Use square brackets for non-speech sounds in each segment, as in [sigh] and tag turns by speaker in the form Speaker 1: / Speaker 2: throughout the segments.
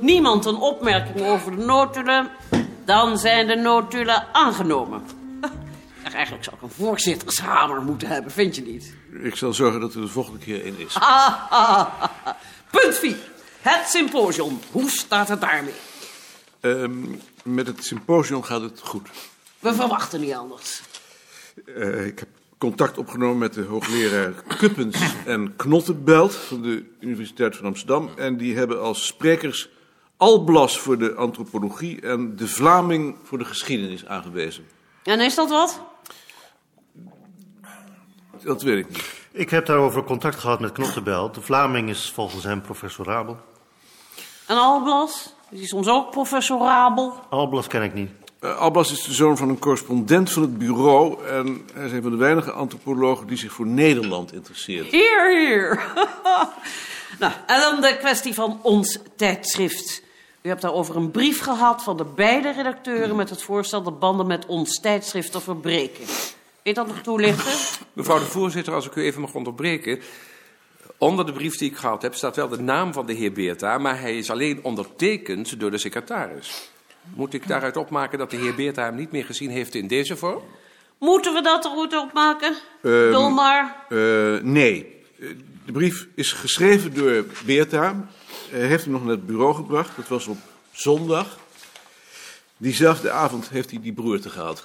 Speaker 1: niemand een opmerking over de notulen... dan zijn de notulen aangenomen. [laughs] Ach, eigenlijk zou ik een voorzittershamer moeten hebben, vind je niet?
Speaker 2: Ik zal zorgen dat er de volgende keer in is.
Speaker 1: Ah, ah, ah. [laughs] Punt 4. Het symposium. Hoe staat het daarmee?
Speaker 2: Ehm, met het symposium gaat het goed.
Speaker 1: We verwachten niet anders.
Speaker 2: Eh, ik heb contact opgenomen met de hoogleraar Kuppens en Knottenbelt van de Universiteit van Amsterdam. En die hebben als sprekers Alblas voor de antropologie en de Vlaming voor de geschiedenis aangewezen.
Speaker 1: En is dat wat?
Speaker 2: Dat weet ik niet.
Speaker 3: Ik heb daarover contact gehad met Knottenbel. De Vlaming is volgens hem professorabel.
Speaker 1: En Alblas? Is hij soms ook professorabel?
Speaker 3: Alblas ken ik niet.
Speaker 2: Eh, Alblas is de zoon van een correspondent van het bureau. En hij is een van de weinige antropologen die zich voor Nederland interesseert.
Speaker 1: Hier, hier. [laughs] nou, en dan de kwestie van ons tijdschrift. U hebt daarover een brief gehad van de beide redacteuren... met het voorstel de banden met ons tijdschrift te verbreken. Weet dat nog toelichten?
Speaker 4: Mevrouw de voorzitter, als ik u even mag onderbreken. Onder de brief die ik gehad heb staat wel de naam van de heer Beerta, maar hij is alleen ondertekend door de secretaris. Moet ik daaruit opmaken dat de heer Beerta hem niet meer gezien heeft in deze vorm?
Speaker 1: Moeten we dat er goed op maken?
Speaker 2: Ehm,
Speaker 1: Dolmar?
Speaker 2: Eh, nee. Eh, De brief is geschreven door Beerta. Hij heeft hem nog naar het bureau gebracht. Dat was op zondag. Diezelfde avond heeft hij die broerte gehad.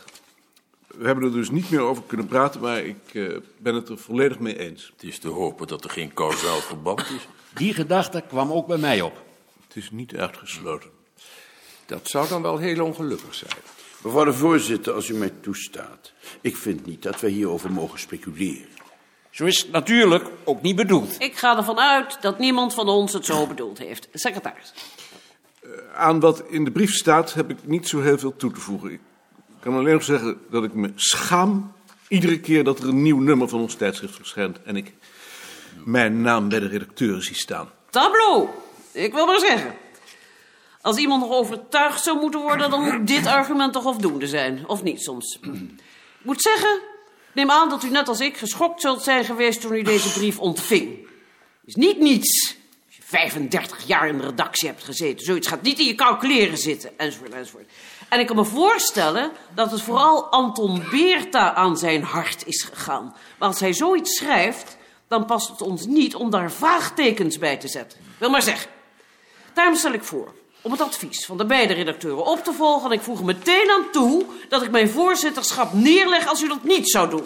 Speaker 2: We hebben er dus niet meer over kunnen praten, maar ik eh, ben het er volledig mee eens.
Speaker 5: Het is te hopen dat er geen kausaal verband is.
Speaker 6: Die gedachte kwam ook bij mij op.
Speaker 2: Het is niet uitgesloten.
Speaker 4: Dat zou dan wel heel ongelukkig zijn.
Speaker 5: Mevrouw de voorzitter, als u mij toestaat. Ik vind niet dat wij hierover mogen speculeren.
Speaker 7: Zo is het natuurlijk ook niet bedoeld.
Speaker 1: Ik ga ervan uit dat niemand van ons het zo bedoeld heeft. Secretaris.
Speaker 2: Aan wat in de brief staat heb ik niet zo heel veel toe te voegen. Ik kan alleen nog zeggen dat ik me schaam iedere keer dat er een nieuw nummer van ons tijdschrift verschijnt en ik mijn naam bij de redacteur zie staan.
Speaker 1: Tableau. Ik wil maar zeggen. Als iemand nog overtuigd zou moeten worden, dan moet dit argument toch afdoende zijn. Of niet soms. Ik moet zeggen, ik neem aan dat u net als ik geschokt zult zijn geweest toen u deze brief ontving. Is niet niets. Als je 35 jaar in de redactie hebt gezeten, zoiets gaat niet in je calculeren zitten, enzovoort, enzovoort. En ik kan me voorstellen dat het vooral Anton Beerta aan zijn hart is gegaan. Maar als hij zoiets schrijft, dan past het ons niet om daar vraagtekens bij te zetten. Wil maar zeggen. Daarom stel ik voor om het advies van de beide redacteuren op te volgen. En ik voeg er meteen aan toe dat ik mijn voorzitterschap neerleg als u dat niet zou doen.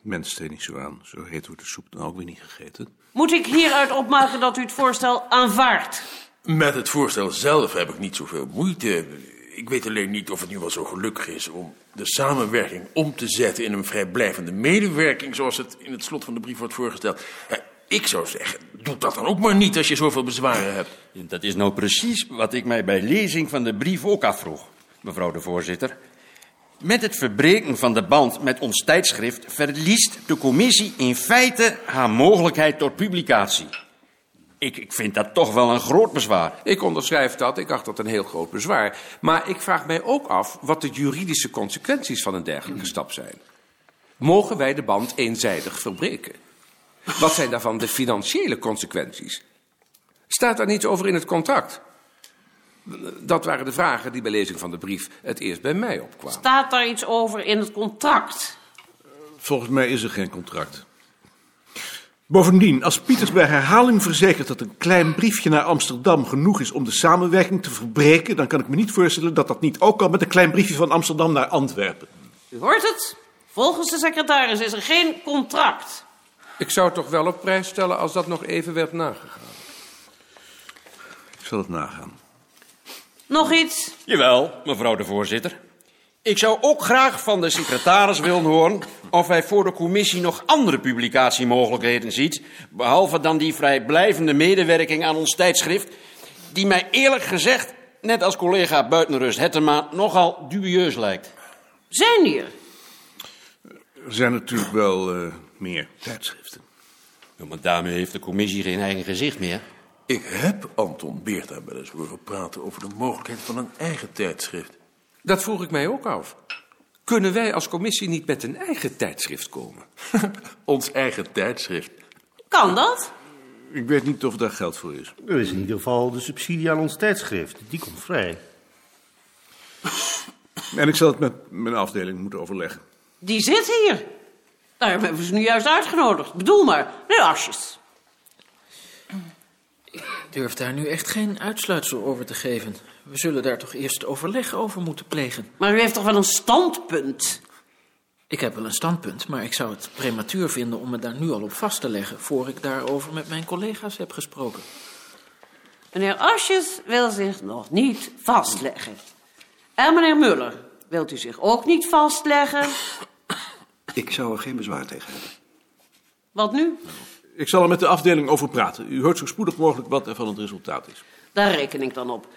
Speaker 2: Mens, steen niet zo aan. Zo heet wordt de soep dan ook weer niet gegeten.
Speaker 1: Moet ik hieruit opmaken dat u het voorstel aanvaardt?
Speaker 5: Met het voorstel zelf heb ik niet zoveel moeite. Ik weet alleen niet of het nu wel zo gelukkig is om de samenwerking om te zetten in een vrijblijvende medewerking, zoals het in het slot van de brief wordt voorgesteld. Eh, Ik zou zeggen, doe dat dan ook maar niet als je zoveel bezwaren hebt.
Speaker 7: Dat is nou precies wat ik mij bij lezing van de brief ook afvroeg, mevrouw de voorzitter. Met het verbreken van de band met ons tijdschrift verliest de commissie in feite haar mogelijkheid tot publicatie. Ik, ik vind dat toch wel een groot bezwaar.
Speaker 4: Ik onderschrijf dat, ik acht dat een heel groot bezwaar. Maar ik vraag mij ook af wat de juridische consequenties van een dergelijke stap zijn. Mogen wij de band eenzijdig verbreken? Wat zijn daarvan de financiële consequenties? Staat daar niets over in het contract? Dat waren de vragen die bij lezing van de brief het eerst bij mij opkwamen.
Speaker 1: Staat daar iets over in het contract?
Speaker 2: Volgens mij is er geen contract. Bovendien, als Pieters bij herhaling verzekert dat een klein briefje naar Amsterdam genoeg is om de samenwerking te verbreken, dan kan ik me niet voorstellen dat dat niet ook kan met een klein briefje van Amsterdam naar Antwerpen.
Speaker 1: U hoort het. Volgens de secretaris is er geen contract.
Speaker 4: Ik zou het toch wel op prijs stellen als dat nog even werd nagegaan.
Speaker 2: Ik zal het nagaan.
Speaker 1: Nog iets?
Speaker 7: Jawel, mevrouw de voorzitter. Ik zou ook graag van de secretaris willen horen of hij voor de commissie nog andere publicatiemogelijkheden ziet, behalve dan die vrijblijvende medewerking aan ons tijdschrift, die mij eerlijk gezegd, net als collega Buitenrust Hettema, nogal dubieus lijkt.
Speaker 1: Zijn hier.
Speaker 2: Er zijn natuurlijk wel eh, meer tijdschriften.
Speaker 7: maar daarmee heeft de commissie geen eigen gezicht meer.
Speaker 5: Ik heb Anton Beerta wel eens horen praten over de mogelijkheid van een eigen tijdschrift.
Speaker 4: Dat vroeg ik mij ook af. Kunnen wij als commissie niet
Speaker 5: [laughs]
Speaker 4: met een eigen tijdschrift komen?
Speaker 5: Ons eigen tijdschrift.
Speaker 1: Kan dat?
Speaker 2: Ik weet niet of daar geld voor is.
Speaker 3: Er is in ieder geval de subsidie aan ons tijdschrift. Die komt vrij.
Speaker 2: En ik zal het met mijn afdeling moeten overleggen.
Speaker 1: Die zit hier. Daarom hebben we ze nu juist uitgenodigd. Bedoel maar, meneer Asjes.
Speaker 8: Durf daar nu echt geen uitsluitsel over te geven. We zullen daar toch eerst overleg over moeten plegen.
Speaker 1: Maar u heeft toch wel een standpunt?
Speaker 8: Ik heb wel een standpunt, maar ik zou het prematuur vinden om me daar nu al op vast te leggen. voor ik daarover met mijn collega's heb gesproken.
Speaker 1: Meneer Asjes wil zich nog niet vastleggen. En meneer Muller, wilt u zich ook niet vastleggen?
Speaker 9: Ik zou er geen bezwaar tegen hebben.
Speaker 1: Wat nu?
Speaker 2: Ik zal er met de afdeling over praten. U hoort zo spoedig mogelijk wat er van het resultaat is.
Speaker 1: Daar reken ik dan op.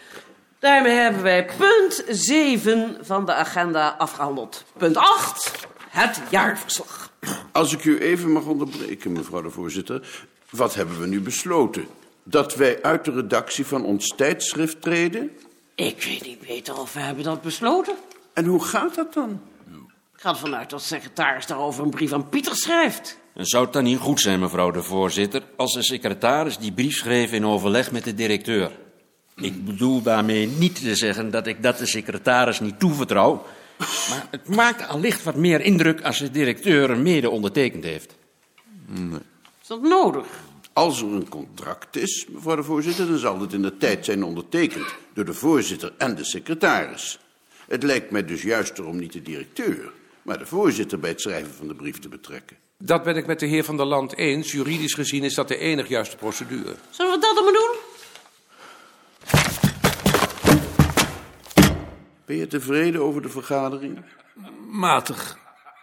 Speaker 1: Daarmee hebben wij punt 7 van de agenda afgehandeld. Punt 8, het jaarverslag.
Speaker 10: Als ik u even mag onderbreken, mevrouw de voorzitter. Wat hebben we nu besloten? Dat wij uit de redactie van ons tijdschrift treden?
Speaker 1: Ik weet niet beter of we hebben dat besloten.
Speaker 10: En hoe gaat dat dan?
Speaker 1: Ik ga ervan uit dat de secretaris daarover een brief aan Pieter schrijft.
Speaker 7: En zou het dan niet goed zijn, mevrouw de voorzitter, als de secretaris die brief schreef in overleg met de directeur? Ik bedoel daarmee niet te zeggen dat ik dat de secretaris niet toevertrouw. Maar het maakt allicht wat meer indruk als de directeur hem mede ondertekend heeft.
Speaker 1: Is dat nodig?
Speaker 10: Als er een contract is, mevrouw de voorzitter, dan zal het in de tijd zijn ondertekend door de voorzitter en de secretaris. Het lijkt mij dus juister om niet de directeur, maar de voorzitter bij het schrijven van de brief te betrekken.
Speaker 4: Dat ben ik met de heer van der Land eens. Juridisch gezien is dat de enig juiste procedure.
Speaker 1: Zullen we dat dan maar doen?
Speaker 10: Ben je tevreden over de vergadering?
Speaker 11: Matig.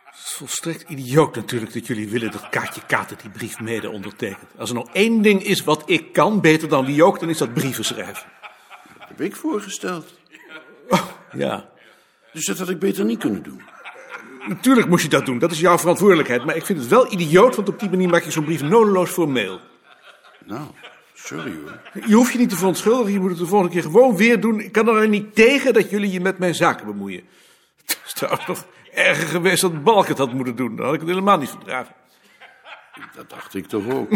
Speaker 11: Het is volstrekt idioot natuurlijk dat jullie willen dat Kaatje Kater die brief mede ondertekent. Als er nou één ding is wat ik kan, beter dan wie ook, dan is dat brieven schrijven.
Speaker 10: Dat heb ik voorgesteld.
Speaker 11: Ja.
Speaker 10: Dus dat had ik beter niet kunnen doen.
Speaker 11: Natuurlijk moest je dat doen, dat is jouw verantwoordelijkheid. Maar ik vind het wel idioot, want op die manier maak je zo'n brief nodeloos formeel.
Speaker 10: Nou, sorry hoor.
Speaker 11: Je hoeft je niet te verontschuldigen, je moet het de volgende keer gewoon weer doen. Ik kan er alleen niet tegen dat jullie je met mijn zaken bemoeien. Het is trouwens nog erger geweest dat Balk het had moeten doen. Dan had ik het helemaal niet verdragen.
Speaker 10: Dat dacht ik toch ook.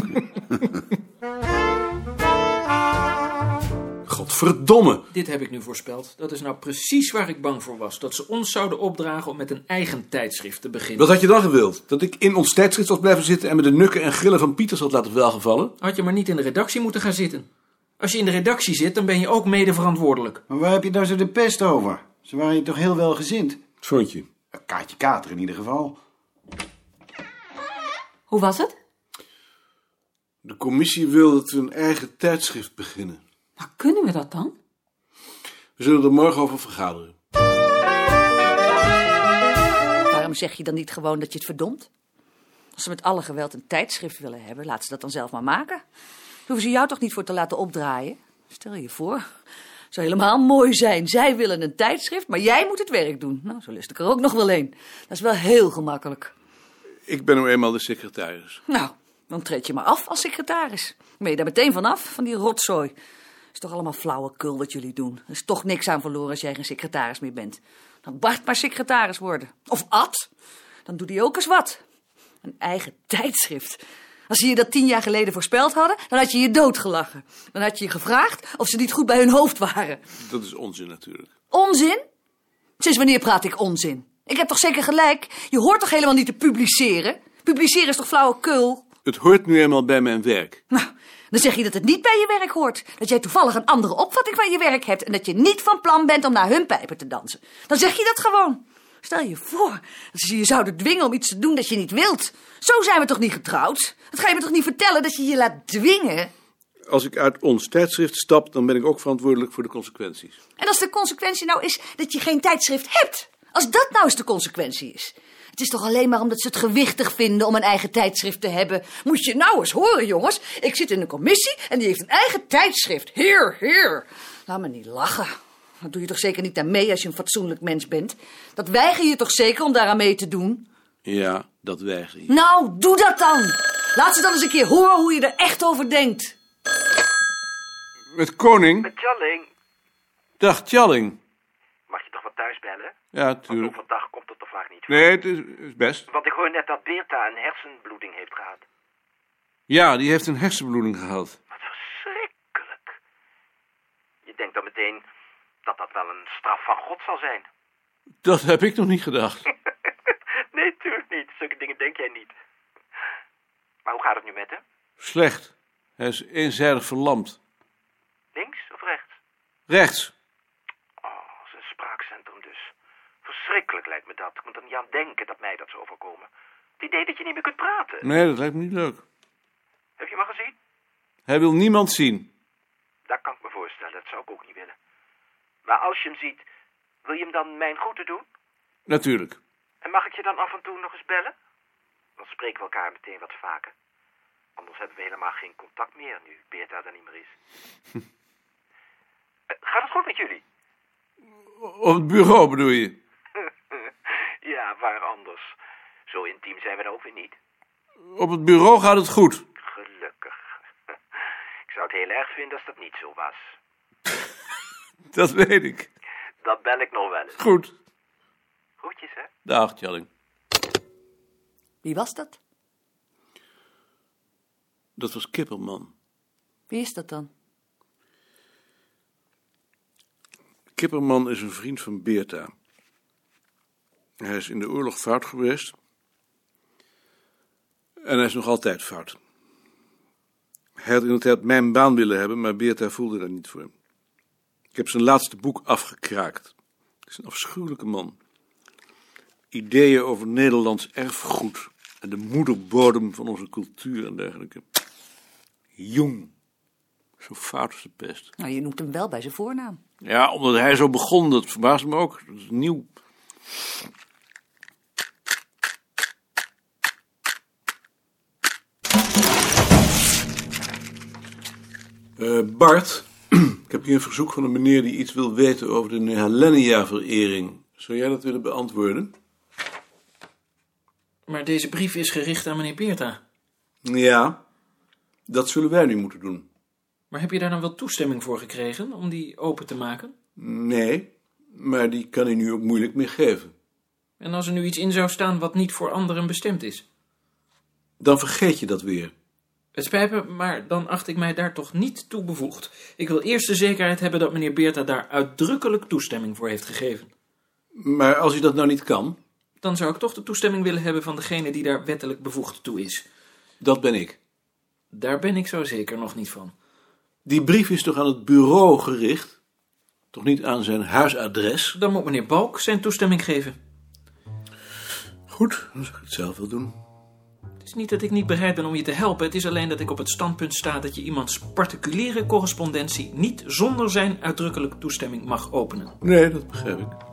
Speaker 2: Godverdomme.
Speaker 8: Dit heb ik nu voorspeld. Dat is nou precies waar ik bang voor was. Dat ze ons zouden opdragen om met een eigen tijdschrift te beginnen.
Speaker 2: Wat had je dan gewild? Dat ik in ons tijdschrift was blijven zitten en met de nukken en grillen van Pieters had laten welgevallen?
Speaker 8: Had je maar niet in de redactie moeten gaan zitten. Als je in de redactie zit, dan ben je ook mede verantwoordelijk.
Speaker 9: [laughs] Maar waar heb je nou zo de pest over? Ze waren je toch heel welgezind?
Speaker 2: Vond je?
Speaker 9: Kaatje Kater in ieder geval.
Speaker 12: Hoe was het?
Speaker 2: De commissie wil dat we een eigen tijdschrift beginnen.
Speaker 12: Maar kunnen we dat dan?
Speaker 2: We zullen er morgen over vergaderen.
Speaker 12: Waarom zeg je dan niet gewoon dat je het verdomt? Als ze met alle geweld een tijdschrift willen hebben, laat ze dat dan zelf maar maken. Daar hoeven ze jou toch niet voor te laten opdraaien? Stel je voor. Zou helemaal mooi zijn. Zij willen een tijdschrift, maar jij moet het werk doen. Nou, zo lust ik er ook nog wel een. Dat is wel heel gemakkelijk.
Speaker 2: Ik ben nu eenmaal de secretaris.
Speaker 12: Nou, dan treed je maar af als secretaris. Dan ben je daar meteen vanaf, van die rotzooi. Is toch allemaal flauwekul wat jullie doen. Er is toch niks aan verloren als jij geen secretaris meer bent. Dan Bart maar secretaris worden. Of Ad. Dan doet hij ook eens wat. Een eigen [laughs] tijdschrift. Als ze je dat tien jaar geleden voorspeld hadden, dan had je je doodgelachen. Dan had je je gevraagd of ze niet goed bij hun hoofd waren.
Speaker 2: Dat is onzin natuurlijk.
Speaker 12: Onzin? Sinds wanneer praat ik onzin? Ik heb toch zeker gelijk? Je hoort toch helemaal niet te publiceren? Publiceren is toch flauwekul?
Speaker 2: Het hoort nu eenmaal bij mijn werk.
Speaker 12: Nou, dan zeg je dat het niet bij je werk hoort. Dat jij toevallig een andere opvatting van je werk hebt. En dat je niet van plan bent om naar hun pijpen te dansen. Dan zeg je dat gewoon. Stel je voor dat ze je zouden dwingen om iets te doen dat je niet wilt. Zo zijn we toch niet getrouwd? Dat ga je me toch niet vertellen dat je je laat dwingen?
Speaker 2: Als ik uit ons tijdschrift stap, dan ben ik ook verantwoordelijk voor de consequenties.
Speaker 12: En als de consequentie nou is dat je geen tijdschrift hebt. Als dat nou eens de consequentie is. Het is toch alleen maar omdat ze het gewichtig vinden om een eigen tijdschrift te hebben. Moet je nou eens horen, jongens. Ik zit in een commissie en die heeft een eigen tijdschrift. Heer, heer. Laat me niet lachen. Dat doe je toch zeker niet aan mee als je een fatsoenlijk mens bent? Dat weiger je toch zeker om daaraan mee te doen?
Speaker 2: Ja, dat weiger je.
Speaker 12: Nou, doe dat dan. Laat ze dan eens een keer horen hoe je er echt over denkt.
Speaker 2: Met Koning.
Speaker 13: Tjalling,
Speaker 2: Dag, Tjalling.
Speaker 13: mag je toch wat thuis bellen?
Speaker 2: Ja,
Speaker 13: Want
Speaker 2: tuurlijk.
Speaker 13: overdag komt het de vraag niet voor.
Speaker 2: Nee, het is, is best.
Speaker 13: Want ik hoor net dat Beerta een hersenbloeding heeft gehad.
Speaker 2: Ja, die heeft een hersenbloeding gehad.
Speaker 10: Schrikkelijk. Je denkt dan meteen dat dat wel een straf van God zal zijn.
Speaker 2: Dat heb ik nog niet gedacht.
Speaker 10: nee, tuurlijk niet. Zulke dingen denk jij niet. Maar hoe gaat het nu met hem?
Speaker 2: Slecht. Hij is eenzijdig verlamd.
Speaker 10: Links of rechts?
Speaker 2: Rechts.
Speaker 10: Oh, zijn spraakcentrum dus. Verschrikkelijk lijkt me dat. Ik moet er niet aan denken dat mij dat zou overkomen. Het idee dat je niet meer kunt praten.
Speaker 2: Nee, dat lijkt me niet leuk.
Speaker 10: Heb je hem al gezien?
Speaker 2: Hij wil niemand zien.
Speaker 10: Dat kan ik me voorstellen. Dat zou ik ook niet willen. Maar als je hem ziet, wil je hem dan mijn groeten doen?
Speaker 2: Natuurlijk.
Speaker 10: En mag ik je dan af en toe nog eens bellen? Dan spreken we elkaar meteen wat vaker. Anders hebben we helemaal geen contact meer nu Beerta er niet meer is. Eh, Gaat het goed met jullie?
Speaker 2: Op het bureau bedoel je?
Speaker 10: [laughs] ja, waar anders. Zo intiem zijn we dan ook weer niet.
Speaker 2: Op het bureau gaat het goed.
Speaker 10: Gelukkig. Ik zou het heel erg vinden als dat niet zo was.
Speaker 2: Dat weet ik.
Speaker 10: Dat bel ik nog wel eens.
Speaker 2: Goed.
Speaker 10: Groetjes, hè?
Speaker 2: Dag, Tjalling.
Speaker 12: Wie was dat?
Speaker 2: Dat was Kipperman.
Speaker 12: Wie is dat dan?
Speaker 2: Kipperman is een vriend van Beerta. Hij is in de oorlog fout geweest. En hij is nog altijd fout. Hij had in de tijd mijn baan willen hebben, maar Beerta voelde daar niet voor. Ik heb zijn laatste boek afgekraakt. Het is een afschuwelijke man. Ideeën over Nederlands erfgoed en de moederbodem van onze cultuur en dergelijke. Jong. Zo fout als de pest.
Speaker 12: Nou, je noemt hem wel bij zijn voornaam.
Speaker 2: Ja, omdat hij zo begon, dat verbaast me ook. Dat is nieuw. Eh, Bart, [clears throat] ik heb hier een verzoek van een meneer die iets wil weten over de Helenia-verering. Zou jij dat willen beantwoorden?
Speaker 7: Maar deze brief is gericht aan meneer Beerta.
Speaker 2: Ja, dat zullen wij nu moeten doen.
Speaker 7: Maar heb je daar dan wel toestemming voor gekregen om die open te maken?
Speaker 2: Nee, maar die kan hij nu ook moeilijk meer geven.
Speaker 7: En als er nu iets in zou staan wat niet voor anderen bestemd is?
Speaker 2: Dan vergeet je dat weer.
Speaker 7: Het spijt me, maar dan acht ik mij daar toch niet toe bevoegd. Ik wil eerst de zekerheid hebben dat meneer Beerta daar uitdrukkelijk toestemming voor heeft gegeven.
Speaker 2: Maar als hij dat nou niet kan,
Speaker 7: Dan zou ik toch de toestemming willen hebben van degene die daar wettelijk bevoegd toe is.
Speaker 2: dat ben ik.
Speaker 7: Daar ben ik zo zeker nog niet van.
Speaker 2: Die brief is toch aan het bureau gericht? Toch niet aan zijn huisadres?
Speaker 7: Dan moet meneer Balk zijn toestemming geven.
Speaker 2: Goed, dan zal ik het zelf wel doen.
Speaker 7: Het is niet dat ik niet bereid ben om je te helpen. Het is alleen dat ik op het standpunt sta dat je iemands particuliere correspondentie niet zonder zijn uitdrukkelijke toestemming mag openen.
Speaker 2: Nee, dat begrijp ik.